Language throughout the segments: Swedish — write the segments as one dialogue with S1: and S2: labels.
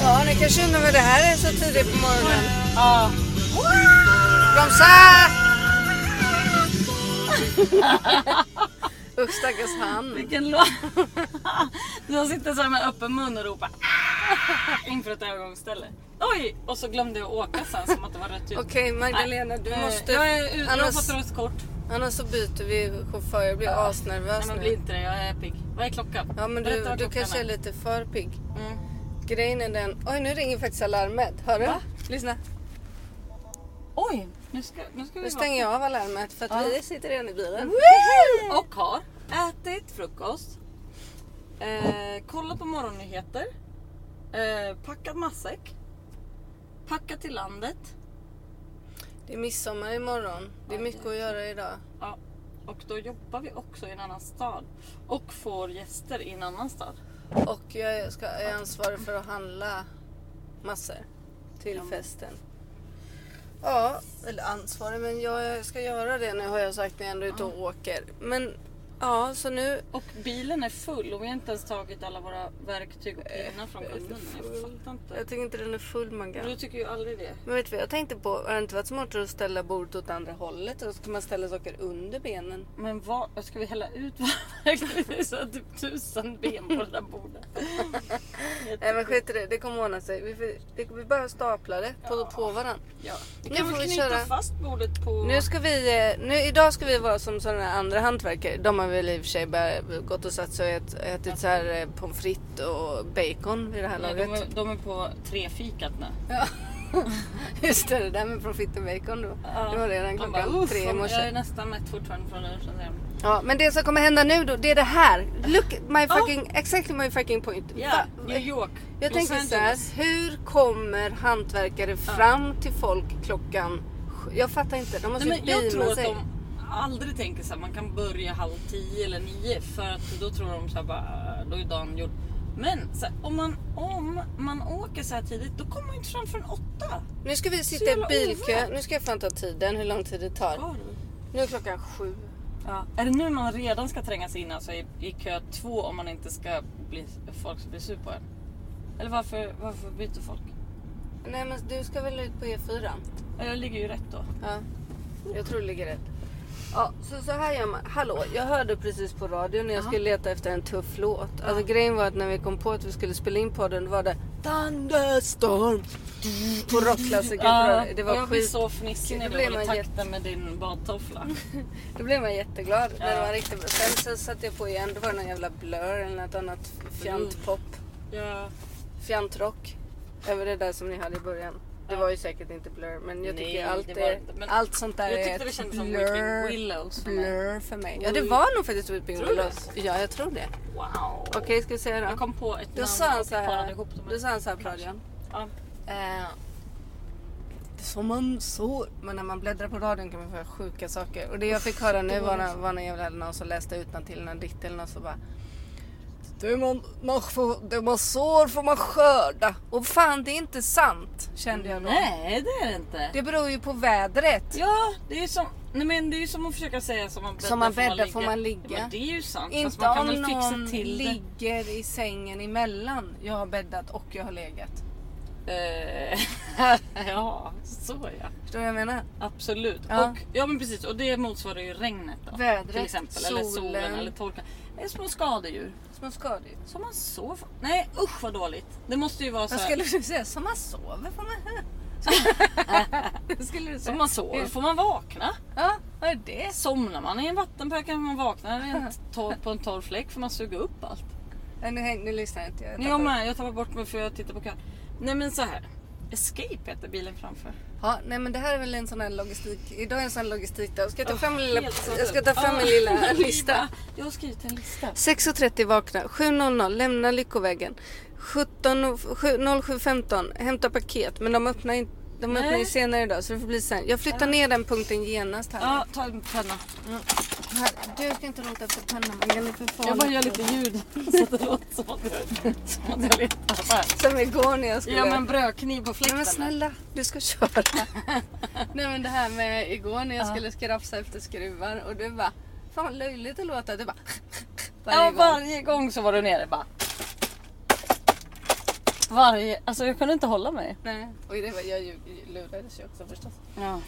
S1: Ja, ni kanske undrar vad det här är så tidigt på morgonen.
S2: Ja.
S1: Bromsa! Usch stackars han.
S2: Vilken låt. Jag sitter så här med öppen mun och ropar "Ah!" inför ett övergångsställe. Oj! Och så glömde jag åka sen som att det var rött ljus.
S1: Okej Magdalena, du
S2: Eh, Jag,
S1: måste...
S2: är, ut- jag har
S1: annars-
S2: fått rött kort.
S1: Annars så byter vi chaufför, jag blir
S2: Nej
S1: asnervös
S2: men bli
S1: nu.
S2: inte det, jag är pigg. Vad är klockan?
S1: Ja men
S2: Berätta
S1: du,
S2: vad
S1: du
S2: klockan
S1: kanske är lite för pigg.
S2: Mm.
S1: Grejen är den... Oj nu ringer faktiskt alarmet. Hör du?
S2: Va?
S1: Lyssna.
S2: Oj! Nu ska, nu ska vi
S1: Nu
S2: vara
S1: stänger jag av alarmet för att
S2: Ja.
S1: vi sitter redan i bilen.
S2: och har ätit frukost, eh, kollat på morgonnyheter, eh, packat matsäck, packat till landet
S1: Det är midsommar imorgon. Det är
S2: Ja,
S1: mycket
S2: det är
S1: att göra idag.
S2: ja, och då jobbar vi också i en annan stad och får gäster i en annan stad.
S1: Och jag ska, är ansvarig för att handla massor till
S2: Ja.
S1: festen. Ja, eller ansvarig, men jag ska göra det nu har jag sagt när jag ändå är ute och åker. Men ja, så nu...
S2: Och bilen är full och vi har inte ens tagit alla våra verktyg och
S1: Äh,
S2: pinnar från kunden. Jag fattar inte.
S1: Jag tycker inte den är full
S2: Men Du
S1: Maggan.
S2: tycker ju aldrig det.
S1: Men vet du vad jag tänkte på? Har det inte varit smartare att ställa bordet åt andra hållet? Och så kan man ställa saker under benen.
S2: Men vad, ska vi hälla ut verktyg? Det är så här typ tusen ben på det där bordet.
S1: Nej Äh, men skit i det, det kommer ordna sig. Vi, får, det, vi bara staplar det på,
S2: Ja.
S1: på varandra.
S2: Ja. Vi
S1: Nu
S2: kan
S1: får
S2: väl
S1: vi
S2: knyta
S1: köra.
S2: fast bordet på...
S1: Nu ska vi, eh, nu, idag ska vi vara som sådana här andra hantverkare. De har väl i och för sig bara gått och satt sig och ät, ätit så här eh, pommes frites och bacon vid det här
S2: Nej,
S1: laget.
S2: de, är, de är på trefikat nu.
S1: Just det, det där med pommes frites och bacon då. Det var redan
S2: Man
S1: klockan
S2: "Uff,
S1: tre i morse.
S2: Jag är nästan mätt fortfarande från lunchen. säger de.
S1: Ja, men det som kommer hända nu då, det är det här. Look at my fucking, exactly my fucking point.
S2: Ja,
S1: Va-
S2: New York.
S1: Jag
S2: Los
S1: tänker så här,
S2: Angeles.
S1: hur kommer hantverkare fram till folk klockan sju? Jag fattar inte, de måste
S2: Nej, men
S1: ju
S2: jag tror
S1: beama
S2: att
S1: sig.
S2: de aldrig tänker så här, man kan börja halv tio eller nio för att då tror de så här, bara, "Äh, då är dagen gjord. Men så här, om, man, om man åker så här tidigt då kommer man inte fram förrän åtta.
S1: Nu ska vi sitta i
S2: jävla
S1: bilkö,
S2: ovärt.
S1: nu ska jag fan ta tiden, hur lång tid det tar.
S2: Var?
S1: Nu är klockan sju.
S2: Ja. Är det nu man redan ska tränga sig in alltså i, i kö två om man inte ska bli folk ska bli sur på en? Eller varför, varför byter folk?
S1: Nej men du ska väl ut på E E4?
S2: Ja, Jag ligger ju rätt då.
S1: Ja. Jag tror det ligger rätt. Ja, så, så här gör man. Hallå, jag hörde precis på radion när jag
S2: Ja.
S1: skulle leta efter en tuff låt. Alltså grejen var att när vi kom på att vi skulle spela in podden då var det Thunderstorm. På rockklassiker. på
S2: Ja,
S1: radio. det var
S2: jag blir
S1: skit.
S2: så fnissig när
S1: Då
S2: du
S1: blev
S2: håller
S1: man
S2: takten med din badtoffla.
S1: Då blev man jätteglad. Men det
S2: Ja.
S1: var riktigt bra. Sen så satte jag på igen. Då var det någon jävla blur eller något annat fjantpop.
S2: ja.
S1: Fjantrock. Över det där som ni hade i början. Det var ju säkert inte blur men jag
S2: Nej,
S1: tycker allt,
S2: det var
S1: är,
S2: inte, men
S1: allt sånt där
S2: Jag
S1: är
S2: tyckte det
S1: ett
S2: kändes som Weeping
S1: blur.
S2: Willows för mig.
S1: Blur för mig. Ja det
S2: Oj.
S1: var nog faktiskt Weeping
S2: Tror du
S1: Willows. Ja jag tror det.
S2: Wow.
S1: Okej ska vi se
S2: Jag
S1: då.
S2: kom på ett
S1: Då
S2: namn
S1: sa han
S2: och
S1: så
S2: parade
S1: här.
S2: ihop dem.
S1: Då sa han så här på radion.
S2: Ja.
S1: Eh, som man så, men när man bläddrar på radion kan man få höra sjuka saker. Och det jag fick höra nu var, när- var när jag hade någon som läste utantill någon dikt eller något så bara. Det man, man, får, det man sår får man skörda. Och fan det är inte sant kände jag då.
S2: Nej det är det inte.
S1: Det beror ju på vädret.
S2: Ja det är ju som, nej men det är ju som att försöka säga som man bäddar,
S1: Som man bäddar får man ligga.
S2: Ja, men det är ju sant. Fast
S1: Inte
S2: man kan
S1: om
S2: väl
S1: någon
S2: fixa till det.
S1: ligger i sängen emellan. Jag har bäddat och jag har legat.
S2: Eh, ja, så ja.
S1: Förstår du vad jag menar?
S2: Absolut.
S1: Ja.
S2: Och, ja men precis och det motsvarar ju regnet då.
S1: Vädret,
S2: till exempel. Eller solen
S1: solen.
S2: eller torkan. Det är små skadedjur.
S1: Som man skadedjur.
S2: Som man så... Nej usch vad dåligt. Det måste ju vara så
S1: Jag
S2: här,
S1: skulle säga som man sover får man... Det skulle du säga.
S2: Som man sover får man vakna.
S1: Ja, vad är det?
S2: Somnar man i en vattenpöl kan man vakna i en torr, på en torr fläck för man suger upp allt.
S1: Nej, nu, häng- nu lyssnar inte jag.
S2: Nej, jag med, jag tappar bort mig för jag tittar på kön. Nej men så här. Escape heter bilen framför.
S1: Ja, nej men det här är väl en sån här logistik... Idag är en sån här logistikdag. Ska jag ta fram min lilla,
S2: Helt sant.
S1: jag ska ta fram min lilla
S2: Ah,
S1: lista?
S2: Jag har skrivit en lista.
S1: 6.30 vakna, 7.00 lämna Lyckovägen, 17 7 07.15 hämta paket men de öppnar, in, de öppnar ju
S2: Nej.
S1: senare idag så det får bli sen. Jag flyttar ner den punkten genast här.
S2: Ja, ta en penna.
S1: här du ska inte låta efter pennan, man kan för
S2: Jag bara
S1: farligt.
S2: gör lite ljud så att det låter som att jag, som att jag letar. Så här.
S1: Som igår när jag skulle...
S2: Ja men brödkniv på
S1: Nej
S2: fläkten.
S1: men snälla, du ska köra. Nej men det här med igår när jag skulle skrafsa efter skruvar och du bara Fan vad löjligt det låter. Du bara...
S2: ja, varje gång så var du nere bara. Varje, alltså jag kunde inte hålla mig.
S1: Nej. Och det var, jag ljug- lurades ju också förstås.
S2: Ja.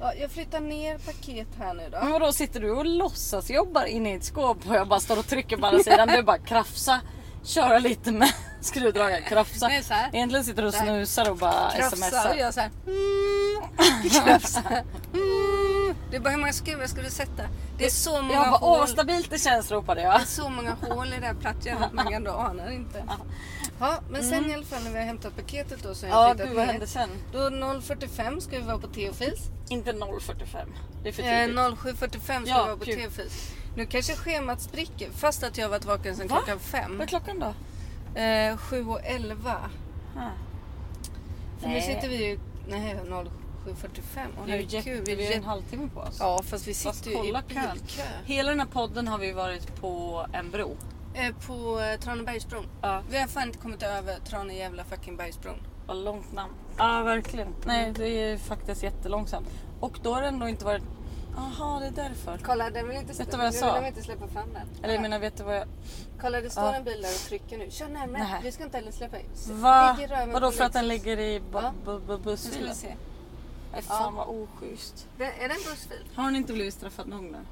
S1: Ja, jag flyttar ner paket här nu då.
S2: Men vadå sitter du och låtsas jobbar inne i ett skåp och jag bara står och trycker på andra sidan. Du bara krafsa, köra lite med skruvdragaren, krafsa.
S1: Nej, så här.
S2: Egentligen sitter du och
S1: Så här.
S2: snusar och bara
S1: Krafsa och
S2: smsar.
S1: jag såhär... Mm, krafsa. Mm. Det är bara hur många skruvar ska du sätta? Det är så många
S2: Mm. Jag bara åh
S1: hål.
S2: vad stabilt det känns ropade
S1: Det
S2: jag.
S1: är så många hål i det här plattjärnet man kan då anar inte. Ja, men sen i alla fall när vi har hämtat paketet då så har jag
S2: Mm. Ja
S1: flyttat
S2: gud vad
S1: ner.
S2: hände sen?
S1: Då 0.45 ska vi vara på Teofis.
S2: Inte 0.45. Det är för
S1: Eh,
S2: tidigt.
S1: 07.45 ska vi
S2: Ja,
S1: vara på
S2: kul.
S1: Teofis. Nu kanske schemat spricker fast att jag har varit vaken sedan
S2: Va?
S1: klockan fem.
S2: Vad är klockan då?
S1: Eh, 7 och 11.
S2: Ah.
S1: För nu
S2: Nej.
S1: sitter vi ju... Nej, 07.45. Åh
S2: Det är ju
S1: herregud.
S2: jätte,
S1: Vi är
S2: vi har en
S1: jätte...
S2: halvtimme på oss.
S1: Ja, fast vi
S2: Fast
S1: sitter ju i
S2: kolla kön.
S1: bilkö.
S2: Hela den här podden har vi varit på en bro.
S1: Eh, på eh, Tranebergsbron.
S2: Ja.
S1: Vi har fan inte kommit över Trane-Gävla-fucking-bergsbron.
S2: Vad långt namn. Ja, verkligen. Nej, det är faktiskt jättelångsamt. Och då har det ändå inte varit... Jaha, det är därför.
S1: Kolla, den vill inte,
S2: Vet du vad jag sa?
S1: Den vill inte släppa fram den.
S2: Eller jag
S1: Kolla.
S2: menar, vet du vad jag...
S1: Kolla, det står
S2: Ja.
S1: en bil där och trycker nu. Kör närmare.
S2: Nej.
S1: Vi ska inte heller släppa in. S-
S2: Va?
S1: ligger i röven
S2: Vadå,
S1: på liksom-
S2: för att den
S1: Lexus.
S2: ligger i
S1: Ja.
S2: bu- bu- bu-
S1: Nu ska vi
S2: bussfilen?
S1: se.
S2: Nej, fan vad oschysst.
S1: Den, är det en bussfil?
S2: Har ni inte blivit straffad någon gång?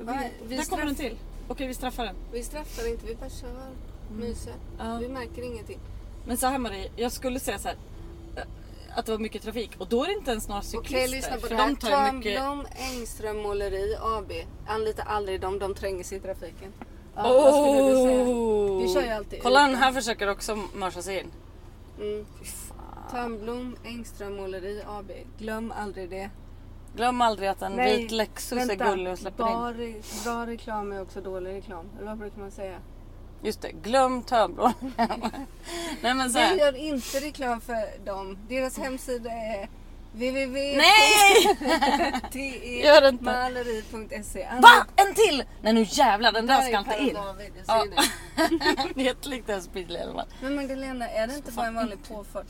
S1: Va? Vi
S2: Där kommer
S1: straff-
S2: den till. Okej, vi straffar den.
S1: Vi straffar inte, vi bara kör. Myser.
S2: Mm. Ja.
S1: Vi märker ingenting.
S2: Men så här Marie, jag skulle säga så här. eh, Att det var mycket trafik och då är det inte ens några cyklister.
S1: Okej, lyssna på
S2: för
S1: det här.
S2: de tar ju
S1: Tom
S2: mycket...
S1: Blom Engström Måleri AB. Anlita aldrig dem, de tränger sig i trafiken. Ja, Vad skulle du säga?
S2: Oh!
S1: Vi kör ju alltid
S2: Kolla
S1: ut.
S2: den här försöker också mörsa sig in.
S1: Mm.
S2: Fy fan.
S1: Tom Blom Engström Måleri AB. Glöm aldrig det.
S2: Glöm aldrig att en
S1: Nej,
S2: vit Lexus
S1: Vänta,
S2: är gullig och släpper in.
S1: bra, re- bra reklam är också dålig reklam. Eller vad brukar man säga?
S2: Just det, glöm Törnblom. Nej men så
S1: Vi
S2: här.
S1: gör inte reklam för dem. Deras hemsida är
S2: Nej! Gör inte.
S1: E www.temalleri.se.
S2: Va? En till! Nej nu jävlar den där ska inte in. Ja.
S1: Ja.
S2: Det är jättelikt en speedlelman.
S1: Men Magdalena, är det inte bara en vanlig påfart?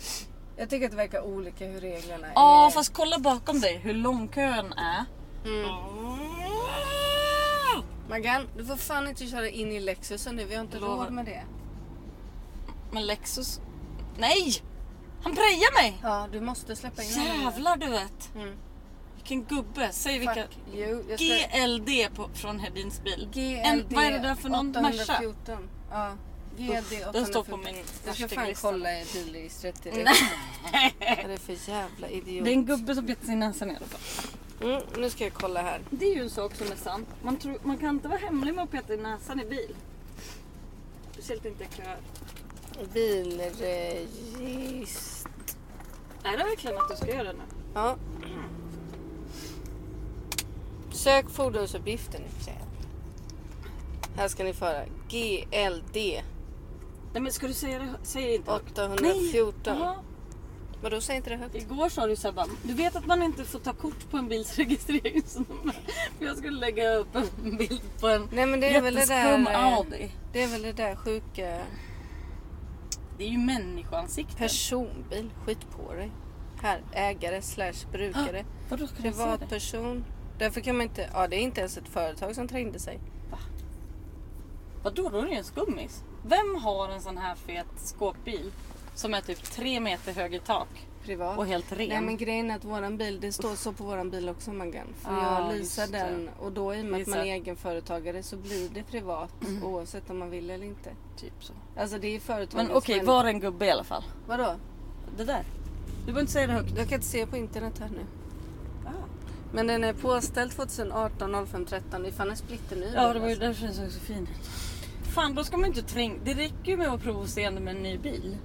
S1: Jag tycker att det verkar olika hur reglerna är.
S2: Ja fast kolla bakom dig hur lång kön är.
S1: Mm. Maggan, du får fan inte köra in i Lexusen nu. Vi har inte
S2: Lovar.
S1: råd med det.
S2: Men Lexus... Nej! Han prejar mig!
S1: Ja, du måste släppa in honom.
S2: Jävlar du vet.
S1: Mm.
S2: Vilken gubbe. Säg vilka...
S1: Fuck you. Jag ska...
S2: GLD på, från Hedins bil.
S1: GLD
S2: en, vad är det där för någon Merca?
S1: 814. Ja. GLD
S2: Uff,
S1: 814.
S2: Den står på min
S1: Jag ska fan
S2: värstinglista.
S1: kolla i bilregistret direkt. Vad är det för jävla idiot?
S2: Det är en gubbe som bet sin näsa ner.
S1: Mm, nu ska jag kolla här.
S2: Det är ju en sak som är sant. Man, tror, man kan inte vara hemlig med att peta i näsan i bil. Speciellt inte köer.
S1: Bilregist...
S2: Är det verkligen att du ska göra det nu?
S1: Ja. Sök fordonsuppgifter nu tjejer. Här ska ni föra GLD
S2: Nej men ska du säga det? Säg det inte högt. Nej!
S1: 814.
S2: Jaha.
S1: Vadå, säg inte det högt.
S2: Igår sa du såhär bara, du vet att man inte får ta kort på en bils registreringsnummer. För jag skulle lägga upp en bild på en
S1: Nej men det är väl det
S2: jätteskum
S1: där... eh,
S2: Audi.
S1: Det är väl det där sjuka...
S2: Det är ju människoansikten.
S1: Personbil, skit på dig. Här, ägare slash brukare.
S2: Vadå ska jag säga det?
S1: Privatperson. Därför kan man inte... Ja, det är inte ens ett företag som trängde sig.
S2: Vadå då är det ju en skummis. Vem har en sån här fet skåpbil som är typ tre meter hög i tak
S1: Privat.
S2: och helt ren?
S1: Nej men grejen är att våran bil, det står så på våran bil också Maggan. För
S2: Ah,
S1: jag
S2: just
S1: leasar
S2: det.
S1: den och då i och med att man är
S2: Leasar. Mm.
S1: egenföretagare så blir det privat oavsett om man vill eller inte.
S2: Typ så.
S1: Alltså det är företagen
S2: Men okej,
S1: som...
S2: var en gubbe i alla fall.
S1: Vadå?
S2: Det där. Du behöver inte säga det högt.
S1: Jag kan inte se på internet här nu.
S2: Ah.
S1: Men den är påställd 2018 05 13. Det är fan en splitterny
S2: Ja,
S1: bil,
S2: det var ju
S1: alltså.
S2: därför den såg så fin ut. Fan, då ska man ju inte tränga... Det räcker ju med att vara provocerande med en ny bil.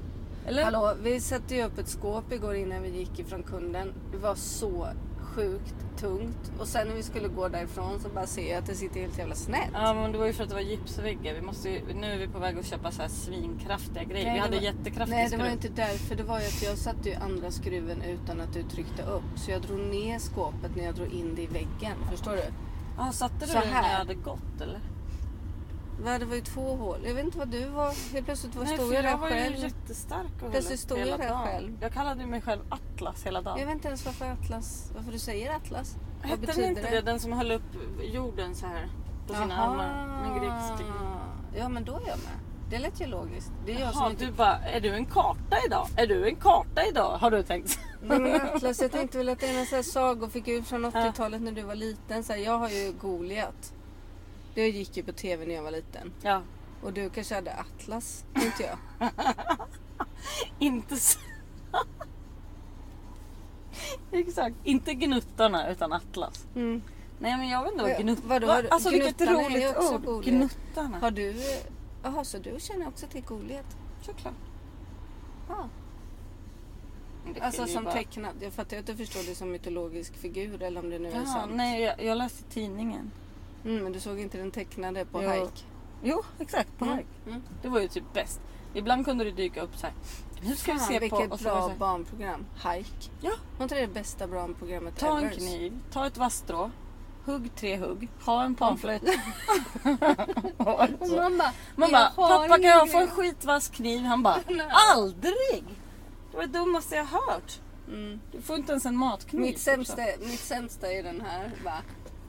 S2: Eller?
S1: Alltså, Hallå, vi satte ju upp ett skåp igår innan vi gick ifrån kunden. Det var så sjukt tungt. Och sen när vi skulle gå därifrån så bara ser jag att det sitter helt jävla snett.
S2: Ja, men det var ju för att det var gipsväggar. Vi måste ju... Nu är vi på väg att köpa så här svinkraftiga grejer.
S1: Nej,
S2: vi
S1: det
S2: hade
S1: var-
S2: jättekraftig
S1: Nej, det var
S2: skruv.
S1: ju inte därför. Det var ju att jag satte ju andra skruven utan att du tryckte upp. Så jag drog ner skåpet när jag drog in det i väggen. Förstår du?
S2: Ja, satte du
S1: Så
S2: den när
S1: här.
S2: jag hade gått eller?
S1: Va, Det var ju två hål. Jag vet inte vad du var. Helt plötsligt var
S2: Nej,
S1: stod
S2: för
S1: jag där
S2: var ju
S1: själv.
S2: jättestark och
S1: Plötsligt
S2: höll upp
S1: stod
S2: hela
S1: jag där
S2: dagen.
S1: själv.
S2: Jag kallade ju mig själv Atlas hela dagen.
S1: Jag vet inte ens varför Atlas... Varför du säger Atlas? Vad
S2: Hette den
S1: betyder
S2: inte det? Den som höll upp jorden så här. på sina
S1: Jaha.
S2: armar med typ. grekisk teknik.
S1: Ja men då är jag med. Det lät ju logiskt. Det är jag
S2: Jaha,
S1: som inte...
S2: du bara, är du en karta idag? Är du en karta idag? Har du tänkt.
S1: Nej, men jag- plus jag tänkte väl att det är en sån här sagofigur från 80-talet när du var liten. Så här, jag har ju Goliat. Det gick ju på tv när jag var liten.
S2: Ja.
S1: Och du kanske hade Atlas, inte jag.
S2: Inte så... Exakt. Inte gnuttarna utan Atlas.
S1: Mm.
S2: Nej men jag vet inte vad
S1: Vad-
S2: gnuttar...
S1: vadå,
S2: Va?
S1: har du-
S2: Alltså vilket
S1: gnuttarna är ju
S2: roligt
S1: också
S2: ord.
S1: roliga.
S2: Gnuttarna.
S1: Har du... Jaha, så du känner också till Goliat?
S2: Såklart.
S1: Ja.
S2: Men det
S1: Alltså
S2: skiljer
S1: som
S2: bara-
S1: tecknad. Jag fattar ju att du förstår det som mytologisk figur eller om det nu är
S2: Jaha,
S1: sant.
S2: nej jag, jag läste tidningen.
S1: Mm, men du såg inte den tecknade på
S2: Jo.
S1: Hike?
S2: Jo exakt, på
S1: Mm.
S2: Hike.
S1: Mm.
S2: Det var ju typ bäst. Ibland kunde det dyka upp så här. Nu ska vi
S1: Fan,
S2: se på...
S1: vilket
S2: och så var det så
S1: bra
S2: här,
S1: barnprogram. Hike.
S2: Ja.
S1: Var inte det det bästa barnprogrammet
S2: Ta en
S1: ever?
S2: kniv, ta ett vasstrå. Hugg tre hugg, ha en panflöjt. Och
S1: Och
S2: så.
S1: man bara,
S2: Man
S1: "Men
S2: bara,
S1: jag har
S2: pappa kan
S1: ingen
S2: jag få en
S1: grej."
S2: skitvass kniv? Han bara,
S1: Nej.
S2: aldrig! Det var det dummaste jag hört.
S1: Mm.
S2: Du får inte ens en matkniv.
S1: Mitt, sämsta, mitt sämsta är den här. Bara,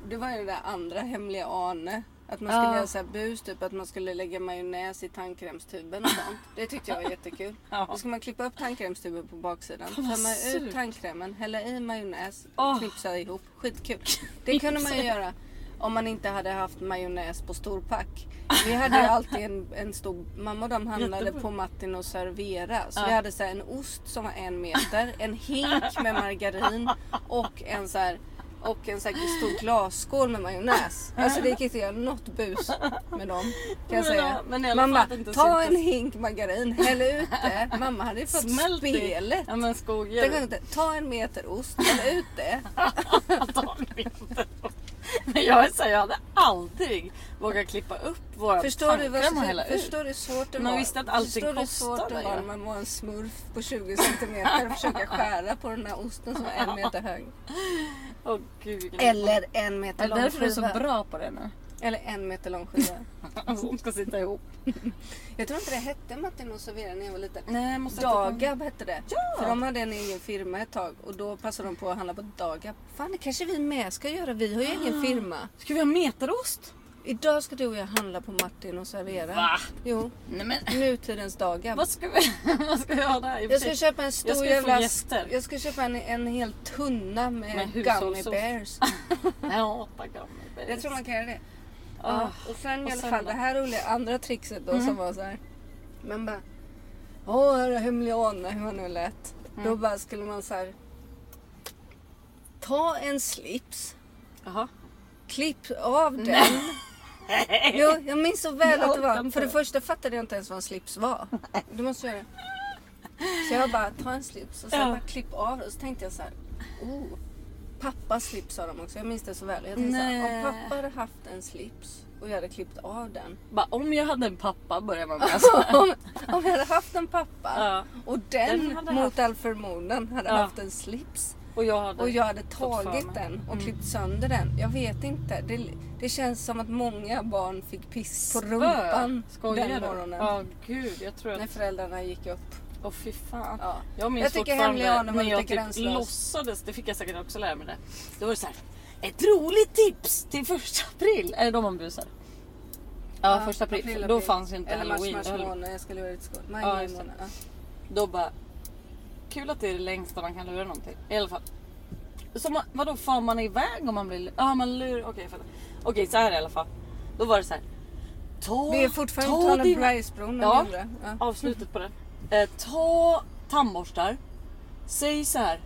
S1: det var ju det där andra hemliga Arne. Att man skulle
S2: Ja.
S1: göra så här bus, typ att man skulle lägga majonnäs i tandkrämstuben och sånt. Det tyckte jag var jättekul.
S2: Ja.
S1: Då ska man klippa upp tandkrämstuben på baksidan,
S2: Fan, vad
S1: tömma
S2: surt.
S1: ut tandkrämen, hälla i majonnäs,
S2: Åh.
S1: knipsa ihop. Skitkul. Det kunde man ju göra om man inte hade haft majonnäs på storpack. Vi hade ju alltid en, en stor... Mamma och de handlade
S2: Jättebra.
S1: på Martin och Servera. Så
S2: Ja.
S1: vi hade så här en ost som var en meter, en hink med margarin och en så här och en så här stor glasskål med majonnäs. Alltså det gick inte att göra något bus med dem. Kan
S2: Men,
S1: jag säga.
S2: ja, men i alla
S1: Mamma,
S2: fall att det inte
S1: ta en
S2: syntes.
S1: hink margarin, häll ut det. Mamma hade ju fått
S2: Smält i.
S1: spelet.
S2: Ja
S1: Tänk om
S2: men skogen.
S1: inte, ta en meter ost, häll ut det.
S2: Antagligen inte. Men jag är så här, jag hade aldrig vågat klippa upp våra
S1: Förstår du, vad,
S2: tandkräm och hälla ut.
S1: förstår du hur svårt det
S2: Man
S1: var?
S2: visste att allting
S1: förstår du hur svårt
S2: kostade
S1: det var
S2: ju.
S1: när man var en smurf på 20 centimeter och försöka skära på den här osten som var en meter hög.
S2: Åh gud. vilken-
S1: Eller en meter
S2: Är det
S1: lång
S2: därför du är så
S1: skiva.
S2: bra på det nu?
S1: Eller en meter lång skiva.
S2: Som ska sitta ihop.
S1: Jag tror inte det hette Martin och Servera när jag var liten.
S2: Nej, jag måste
S1: Dagab hette det.
S2: Ja!
S1: För de hade en egen firma ett tag och då passade de på att handla på Dagab. Fan, det kanske vi med ska göra. Vi har ju
S2: Ah.
S1: ingen firma.
S2: Ska vi ha metarost?
S1: Idag ska du och jag handla på Martin och Servera.
S2: Va?
S1: Jo,
S2: Nej men
S1: nutidens Dagab.
S2: vad ska vi, vad ska vi ha där? I och för
S1: Jag ska
S2: sig-
S1: köpa en stor
S2: Jag ska ju få
S1: jävla...
S2: gäster.
S1: Jag ska köpa en, en hel tunna med,
S2: Med
S1: gummy
S2: hushållssoft.
S1: bears.
S2: Ja, åtta gamla berries.
S1: Jag tror man kan göra det.
S2: Ah.
S1: Ja, och sen
S2: och
S1: i alla
S2: sen
S1: fall
S2: då? Mm.
S1: det här roliga andra trixet då som var så här. Man bara. Åh, här är hemliga anor", hur man nu lät. Då
S2: Mm.
S1: bara skulle man så här. Ta en slips.
S2: Jaha.
S1: Klipp av den. Jo, jag minns så väl
S2: Jag
S1: att det
S2: orkar
S1: var.
S2: inte.
S1: För det första fattade jag inte ens vad en slips var. Du måste göra det. Så jag bara, ta en slips och sen
S2: Ja.
S1: bara klipp av det. Och så tänkte jag så här, oh. Pappas slips sa de också. Jag minns det så väl. Jag tänkte så här,
S2: Nej.
S1: om pappa hade haft en slips och jag hade klippt av den.
S2: Bara, om jag hade en pappa börjar man med. Alltså.
S1: om, om jag hade haft en pappa
S2: Ja.
S1: och den,
S2: Den hade
S1: mot
S2: haft-
S1: all förmodan hade
S2: Ja.
S1: haft en slips.
S2: Och jag hade...
S1: Och jag hade
S2: Fått för mig.
S1: tagit
S2: Mm.
S1: den och klippt sönder den. Jag vet inte. Det, det känns som att många barn fick piss på
S2: Spö.
S1: rumpan
S2: Skojar
S1: den
S2: du?
S1: morgonen.
S2: Ja, gud. Jag tror att...
S1: När föräldrarna gick upp.
S2: Åh fy fan.
S1: Ja.
S2: Jag minns
S1: Jag tycker
S2: fortfarande
S1: hemliga anor var
S2: när jag
S1: lite
S2: typ
S1: gränslös.
S2: låtsades, det fick jag säkert också lära mig det. Då var det så här. Ett roligt tips till första april. Är det då man busar? Ja, första april. För Då fanns ju inte
S1: Eller
S2: halloween.
S1: mars,
S2: Då
S1: mars
S2: höll-
S1: månad. Jag skulle vara ute i skolan. Maj,
S2: Ja,
S1: maj
S2: just det.
S1: månad. Ja.
S2: Då bara... Kul att det är det längsta man kan lura någonting. I alla fall. Så man, vadå, far man iväg om man blir lurad? Ja, man lurar... Okej, jag fattar. Okej, så här i alla fall. Då var det så här. Ta,
S1: Vi är fortfarande
S2: ta
S1: inte Tony
S2: dina-
S1: Bryce-bron.
S2: Ja.
S1: Ja. Ja.
S2: avslutet på det. Eh, ta tandborstar. Säg så här.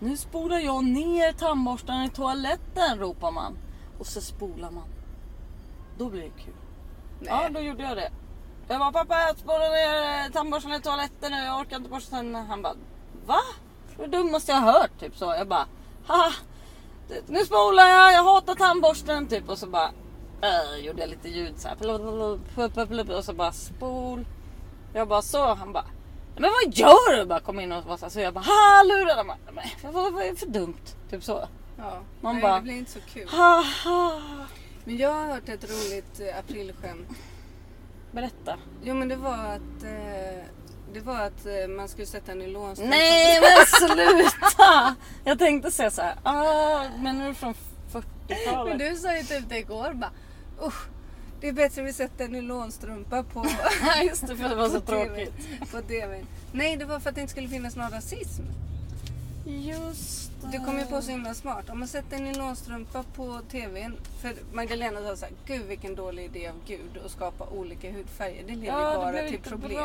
S2: Nu spolar jag ner tandborstarna i toaletten ropar man. Och så spolar man. Då blir det kul. Ja,
S1: Nej.
S2: då gjorde jag det. Jag bara pappa jag spolar ner eh, tandborstarna i toaletten nu. Jag orkar inte borsta tänderna. Han bara va? Det var det dummaste jag har hört typ så. Jag bara haha. det- Nu spolar jag, jag hatar tandborsten typ. Och så bara eh, gjorde jag lite ljud så här. Plup, plup, plup, Och så bara spol. Jag bara så, han bara men vad gör du? Bara kom in och var så, här, så jag bara ha lurade han bara, "Men vad, vad är det för dumt? Typ så.
S1: Ja.
S2: Man
S1: Nej,
S2: bara-
S1: Det blir inte så kul.
S2: Ha ha.
S1: Men jag har hört ett roligt eh, aprilskämt.
S2: Berätta.
S1: Jo men det var att... Eh, det var att eh, man skulle sätta nylonstrumpa.
S2: Nej men sluta! Jag tänkte säga så här, ah, men nu är det från 40-talet.
S1: Men du sa ju typ det igår bara. Usch, det är bättre vi sätter en nylonstrumpa på,
S2: Just det, för det var så
S1: på, TV,
S2: tråkigt.
S1: på DVn. Nej, det var för att det inte skulle finnas någon rasism.
S2: Just
S1: Du kom ju på så himla smart. Om man sätter en nylonstrumpa på TVn. För Magdalena sa såhär, gud vilken dålig idé av Gud att skapa olika hudfärger. Det leder ju bara till problem.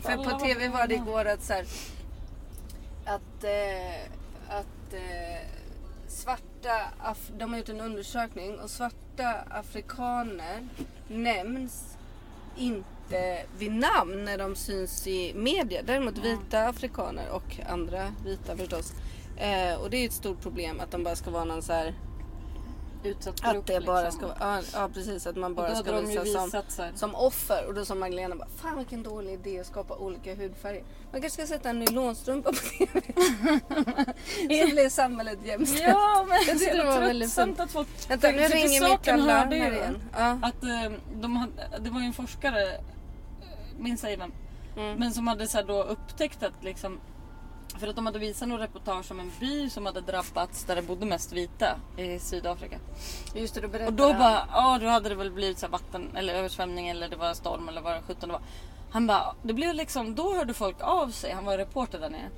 S1: För på TV var det igår att så här, att, eh, att eh, svarta, af- de har gjort en undersökning och svarta afrikaner nämns inte vid namn när de syns i media. Däremot vita afrikaner och andra vita förstås. Eh, och det är ju ett stort problem att de bara ska vara någon så här,
S2: Utsatt grupp,
S1: att det bara
S2: liksom.
S1: ska vara, ja, ja precis att man bara
S2: och då
S1: ska
S2: hade de ju
S1: visa som
S2: visat så här.
S1: som offer och då sa Magdalena bara Fan vilken dålig idé att skapa olika hudfärger. Man kanske ska sätta en nylonstrumpa på TV. så blir samhället jämställt.
S2: Ja men
S1: tyckte
S2: det
S1: det var
S2: är
S1: väldigt
S2: tröttsamt att folk...
S1: Vänta
S2: För-
S1: nu
S2: för till
S1: ringer mitt
S2: saken
S1: gamla
S2: hörde ju-
S1: här igen. Ja.
S2: Att eh, de hade, det var ju en forskare, eh, minns ej vem,
S1: Mm.
S2: men som hade så här då upptäckt att liksom för att de hade visat något reportage om en by som hade drabbats där det bodde mest vita i Sydafrika.
S1: Just det, du berättade
S2: Och då
S1: han.
S2: bara, ja då hade det väl blivit så här vatten eller översvämning eller det var storm eller vad det sjutton det var. Han bara, det blev liksom, då hörde folk av sig, han var reporter där nere.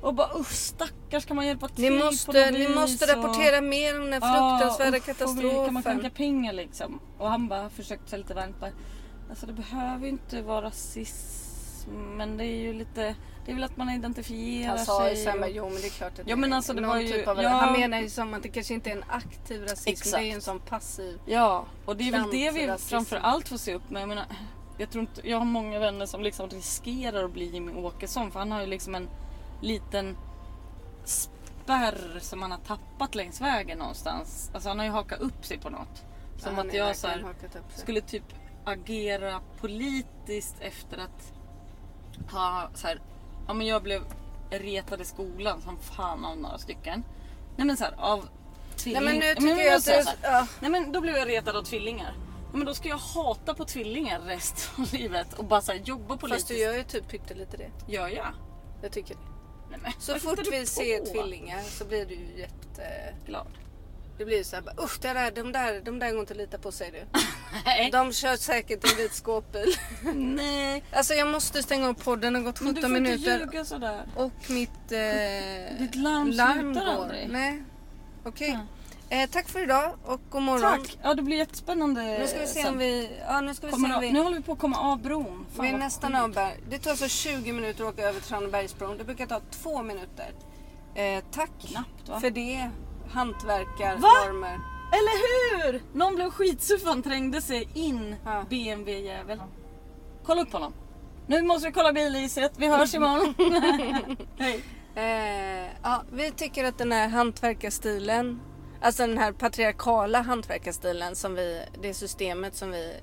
S2: Och bara usch stackars kan man hjälpa till
S1: Ni
S2: på
S1: måste,
S2: något
S1: ni
S2: vis
S1: måste
S2: och-
S1: rapportera mer om den här
S2: Ja,
S1: fruktansvärda
S2: usch, och Ah, vi- Kan man skänka
S1: katastrofen.
S2: pengar liksom? Och han bara försökte säga lite varmt bara, Alltså det behöver ju inte vara rasism. Men det är ju lite, det är väl att man identifierar
S1: Han sa ju
S2: sig.
S1: såhär,
S2: och-
S1: jo men det är klart att
S2: Ja, men alltså, det
S1: någon
S2: var ju-
S1: typ av
S2: ja.
S1: Han menar ju som att det kanske inte är en aktiv rasism.
S2: Exakt.
S1: Det är ju en sån passiv.
S2: Ja, och det är väl
S1: Klant
S2: det vi
S1: rasism.
S2: framför allt får se upp med. Jag menar, jag tror inte, jag har många vänner som liksom riskerar att bli Jimmy Åkesson för han har ju liksom en liten spärr som han har tappat längs vägen någonstans. Alltså han har ju hakat upp sig på något. Som
S1: Han
S2: att
S1: är
S2: jag så
S1: verkligen
S2: här,
S1: hakat upp sig.
S2: skulle typ agera politiskt efter att ha så här, ja men jag blev retad i skolan som fan av några stycken. Nej men så här, av
S1: Nej
S2: tvilling...
S1: men nu
S2: Ja,
S1: tycker jag
S2: vi
S1: att
S2: måste säga
S1: du...
S2: så här.
S1: Ja.
S2: Nej men då blev jag retad av tvillingar. Ja, men då ska jag hata på tvillingar resten av livet och bara så här, jobba
S1: Fast
S2: politiskt.
S1: du gör ju typ pyttelite det.
S2: Gör jag?
S1: Jag tycker det.
S2: Nej, men,
S1: Så
S2: vad
S1: fort
S2: hittar du
S1: vi ser
S2: på?
S1: tvillingar så blir du ju jätte...
S2: Glad.
S1: Det blir ju såhär bara usch det där, de där, de där går inte att lita på säger du.
S2: Nej.
S1: De kör säkert en vit skåpbil.
S2: Nej.
S1: Alltså jag måste stänga av podden, det har gått
S2: Men du
S1: 17
S2: får inte
S1: minuter
S2: ljuga sådär.
S1: och mitt eh,
S2: Ditt larm slutar aldrig.
S1: Nej, okej. Eh, tack för idag och god morgon. Eh,
S2: Tack. Ja det blir jättespännande.
S1: Nu ska vi se
S2: sen.
S1: om vi... Ja nu ska vi
S2: Kommer
S1: se
S2: av,
S1: om vi...
S2: Nu håller vi på att komma av bron. Fan,
S1: Vi är
S2: vad
S1: nästan
S2: sjukt.
S1: av Ber- Det tar alltså 20 minuter att åka över Tranebergsbron. Det brukar ta två minuter. Eh, tack
S2: Knappt, va?
S1: för det,
S2: Va?
S1: hantverkarnormer.
S2: Eller hur? Någon blev skitsur för han trängde sig in
S1: Ja.
S2: BMW-jävel. Kolla upp honom. Nu måste vi kolla bilregistret. Vi hörs imorgon. Hej.
S1: Eh, ja, vi tycker att den här hantverkarstilen, alltså den här patriarkala hantverkarstilen, som vi, det systemet som vi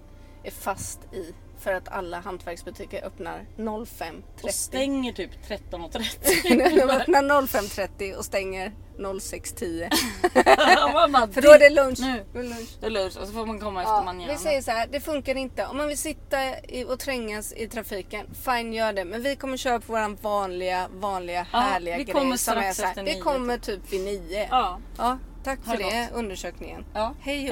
S1: är fast i för att alla hantverksbutiker öppnar 05.30.
S2: Och stänger typ 13.30.
S1: De öppnar 05.30 och stänger 06.10.
S2: Man bara,
S1: För då är det lunch.
S2: Nu.
S1: Då är det lunch.
S2: Det är lunch och så får man komma efter
S1: Ja,
S2: manjana.
S1: vi säger så här, det funkar inte. Om man vill sitta i, och trängas i trafiken, fine gör det. Men vi kommer köra på våran vanliga, vanliga,
S2: Ja,
S1: härliga
S2: vi
S1: grej.
S2: kommer
S1: som är
S2: strax
S1: så här,
S2: efter
S1: vi
S2: nio,
S1: kommer typ vid nio.
S2: Ja.
S1: Ja, tack
S2: Ha
S1: för
S2: det
S1: det, undersökningen.
S2: ja.
S1: Hej och